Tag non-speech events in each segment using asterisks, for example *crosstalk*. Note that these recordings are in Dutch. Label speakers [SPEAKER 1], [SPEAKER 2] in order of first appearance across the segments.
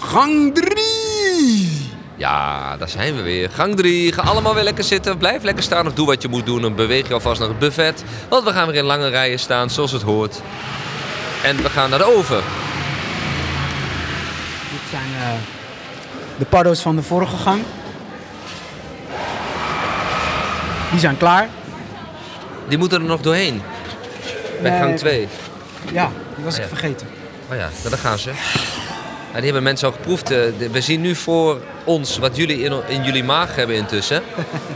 [SPEAKER 1] Gang 3!
[SPEAKER 2] Ja, daar zijn we weer. Gang 3. Ga allemaal weer lekker zitten. Blijf lekker staan of doe wat je moet doen. En beweeg je alvast naar het buffet. Want we gaan weer in lange rijen staan, zoals het hoort. En we gaan naar de oven.
[SPEAKER 3] Dit zijn eh, de paddo's van de vorige gang. Die zijn klaar.
[SPEAKER 2] Die moeten er nog doorheen. Bij
[SPEAKER 3] Nee.
[SPEAKER 2] gang 2.
[SPEAKER 3] Ja, die was
[SPEAKER 2] Ah,
[SPEAKER 3] ik
[SPEAKER 2] ja.
[SPEAKER 3] vergeten.
[SPEAKER 2] Oh ja, nou, daar gaan ze. Ja, die hebben mensen al geproefd. Eh, de- We zien nu voor ons wat jullie in, in jullie maag hebben intussen.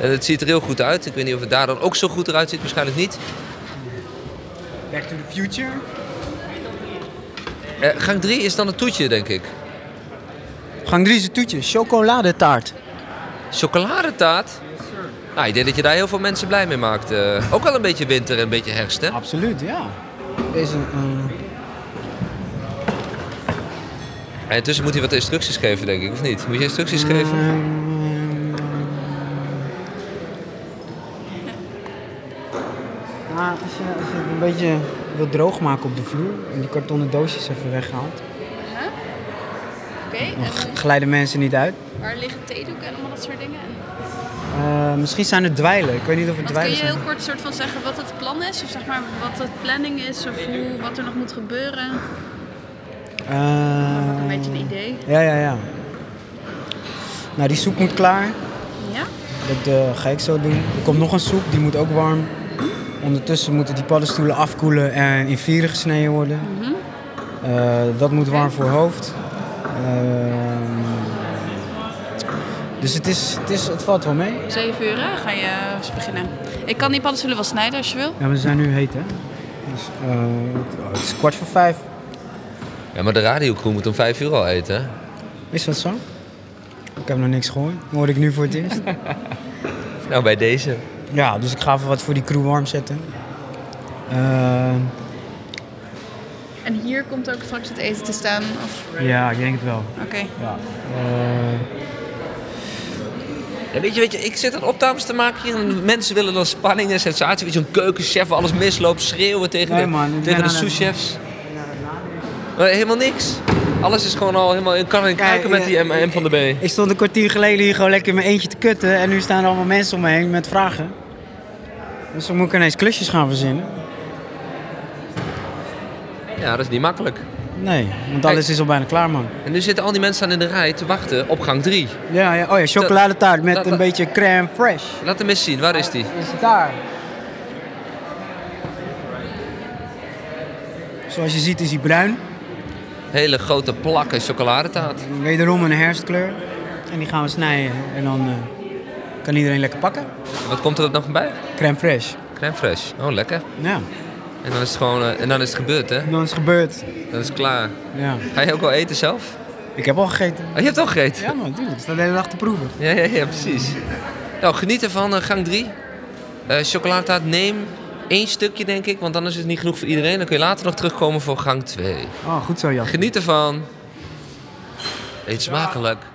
[SPEAKER 2] En het ziet er heel goed uit. Ik weet niet of het daar dan ook zo goed eruit ziet. Waarschijnlijk niet.
[SPEAKER 3] Back to the future.
[SPEAKER 2] Eh, gang 3 is dan het toetje, denk ik.
[SPEAKER 3] Gang 3 is het toetje. Chocoladetaart.
[SPEAKER 2] Chocoladetaart. Nou, ik denk dat je daar heel veel mensen blij mee maakt. eh. ook wel een beetje winter en een beetje herfst, hè?
[SPEAKER 3] Absoluut, ja. Deze, eh,
[SPEAKER 2] En intussen Eh, moet hij wat instructies geven, denk ik, of niet? Moet je instructies
[SPEAKER 3] ehm,
[SPEAKER 2] geven?
[SPEAKER 3] Nou, als je, als je het een beetje wil droog maken op de vloer en die kartonnen doosjes even weghaalt,
[SPEAKER 4] Oké,
[SPEAKER 3] dan
[SPEAKER 4] en
[SPEAKER 3] g- glijden mensen niet uit.
[SPEAKER 4] waar liggen theedoeken en allemaal dat soort dingen? En,
[SPEAKER 3] Eh, misschien zijn het dweilen. Ik weet niet of het
[SPEAKER 4] want kun
[SPEAKER 3] dweilen
[SPEAKER 4] je
[SPEAKER 3] zijn.
[SPEAKER 4] heel kort soort van zeggen wat het plan is? Of zeg maar wat het planning is of hoe, wat er nog moet gebeuren?
[SPEAKER 3] Eh,
[SPEAKER 4] Een beetje een idee.
[SPEAKER 3] Ja, ja, ja. Nou, die soep moet klaar.
[SPEAKER 4] Ja?
[SPEAKER 3] Dat eh, ga ik zo doen. Er komt nog een soep, die moet ook warm. Ondertussen moeten die paddenstoelen afkoelen en in vieren gesneden worden.
[SPEAKER 4] Mhm.
[SPEAKER 3] Eh, dat moet warm voor hoofd. Ehm, dus het, is, het, is, het valt wel mee.
[SPEAKER 4] Zeven uur hè, ga je eh, beginnen. Ik kan die paddenstoelen wel snijden als je wil.
[SPEAKER 3] Ja, we zijn nu heet, hè? Dus, eh, het- het is kwart voor vijf.
[SPEAKER 2] Ja, maar de radiocrew moet om vijf uur al eten, hè?
[SPEAKER 3] Is dat zo? Ik heb nog niks gehoord. Hoor ik nu voor het *laughs* eerst.
[SPEAKER 2] Nou, bij deze.
[SPEAKER 3] Ja, dus ik ga even wat voor die crew warm zetten. Eh,
[SPEAKER 4] En hier komt ook straks het eten te staan. Of...
[SPEAKER 3] ja, ik denk het wel.
[SPEAKER 4] Oké.
[SPEAKER 3] Ja. Eh,
[SPEAKER 2] Ja, weet, je, weet je, ik zit aan opnames te maken hier. En mensen willen dan spanning en sensatie. Weet je, een keukenchef waar alles misloopt. Schreeuwen tegen
[SPEAKER 3] Nee,
[SPEAKER 2] de,
[SPEAKER 3] man, ik
[SPEAKER 2] tegen de
[SPEAKER 3] ben aan het-
[SPEAKER 2] souschefs. Maar helemaal niks. Alles is gewoon al helemaal in kan en kruiken
[SPEAKER 3] eh,
[SPEAKER 2] met die M, M van de B.
[SPEAKER 3] Ik stond een kwartier geleden hier gewoon lekker in mijn eentje te kutten. En nu staan er allemaal mensen om me heen met vragen. Dus dan moet ik ineens klusjes gaan verzinnen.
[SPEAKER 2] Ja, dat is niet makkelijk.
[SPEAKER 3] Nee, want alles is al bijna klaar, man.
[SPEAKER 2] En nu zitten al die mensen aan in de rij te wachten op gang 3.
[SPEAKER 3] Ja, ja. Oh ja, chocoladetaart met
[SPEAKER 2] dat-
[SPEAKER 3] een
[SPEAKER 2] dat-
[SPEAKER 3] beetje crème fresh.
[SPEAKER 2] Laat hem eens zien, waar is die?
[SPEAKER 3] Is het daar? Zoals je ziet is hij bruin.
[SPEAKER 2] Hele grote plakken chocoladetaart.
[SPEAKER 3] Wederom een herfstkleur. En die gaan we snijden. En dan eh, kan iedereen lekker pakken.
[SPEAKER 2] Wat komt er nog bij?
[SPEAKER 3] Crème fresh.
[SPEAKER 2] Crème fraîche. Oh, lekker.
[SPEAKER 3] Ja,
[SPEAKER 2] En dan is het gewoon, eh, en dan is het gebeurd, hè?
[SPEAKER 3] dan is het gebeurd.
[SPEAKER 2] Dan is het klaar.
[SPEAKER 3] Ja.
[SPEAKER 2] Ga je ook wel eten zelf?
[SPEAKER 3] Ik heb al gegeten.
[SPEAKER 2] Oh, je hebt al gegeten?
[SPEAKER 3] Ja, man, natuurlijk. Ik sta de hele dag te proeven.
[SPEAKER 2] Ja, ja, ja, precies. Nou, geniet ervan, eh, gang 3. Eh chocoladetaart, neem één stukje, denk ik, want dan is het niet genoeg voor iedereen. Dan kun je later nog terugkomen voor gang 2.
[SPEAKER 3] Oh, goed zo, Jan.
[SPEAKER 2] Geniet ervan. Eet smakelijk.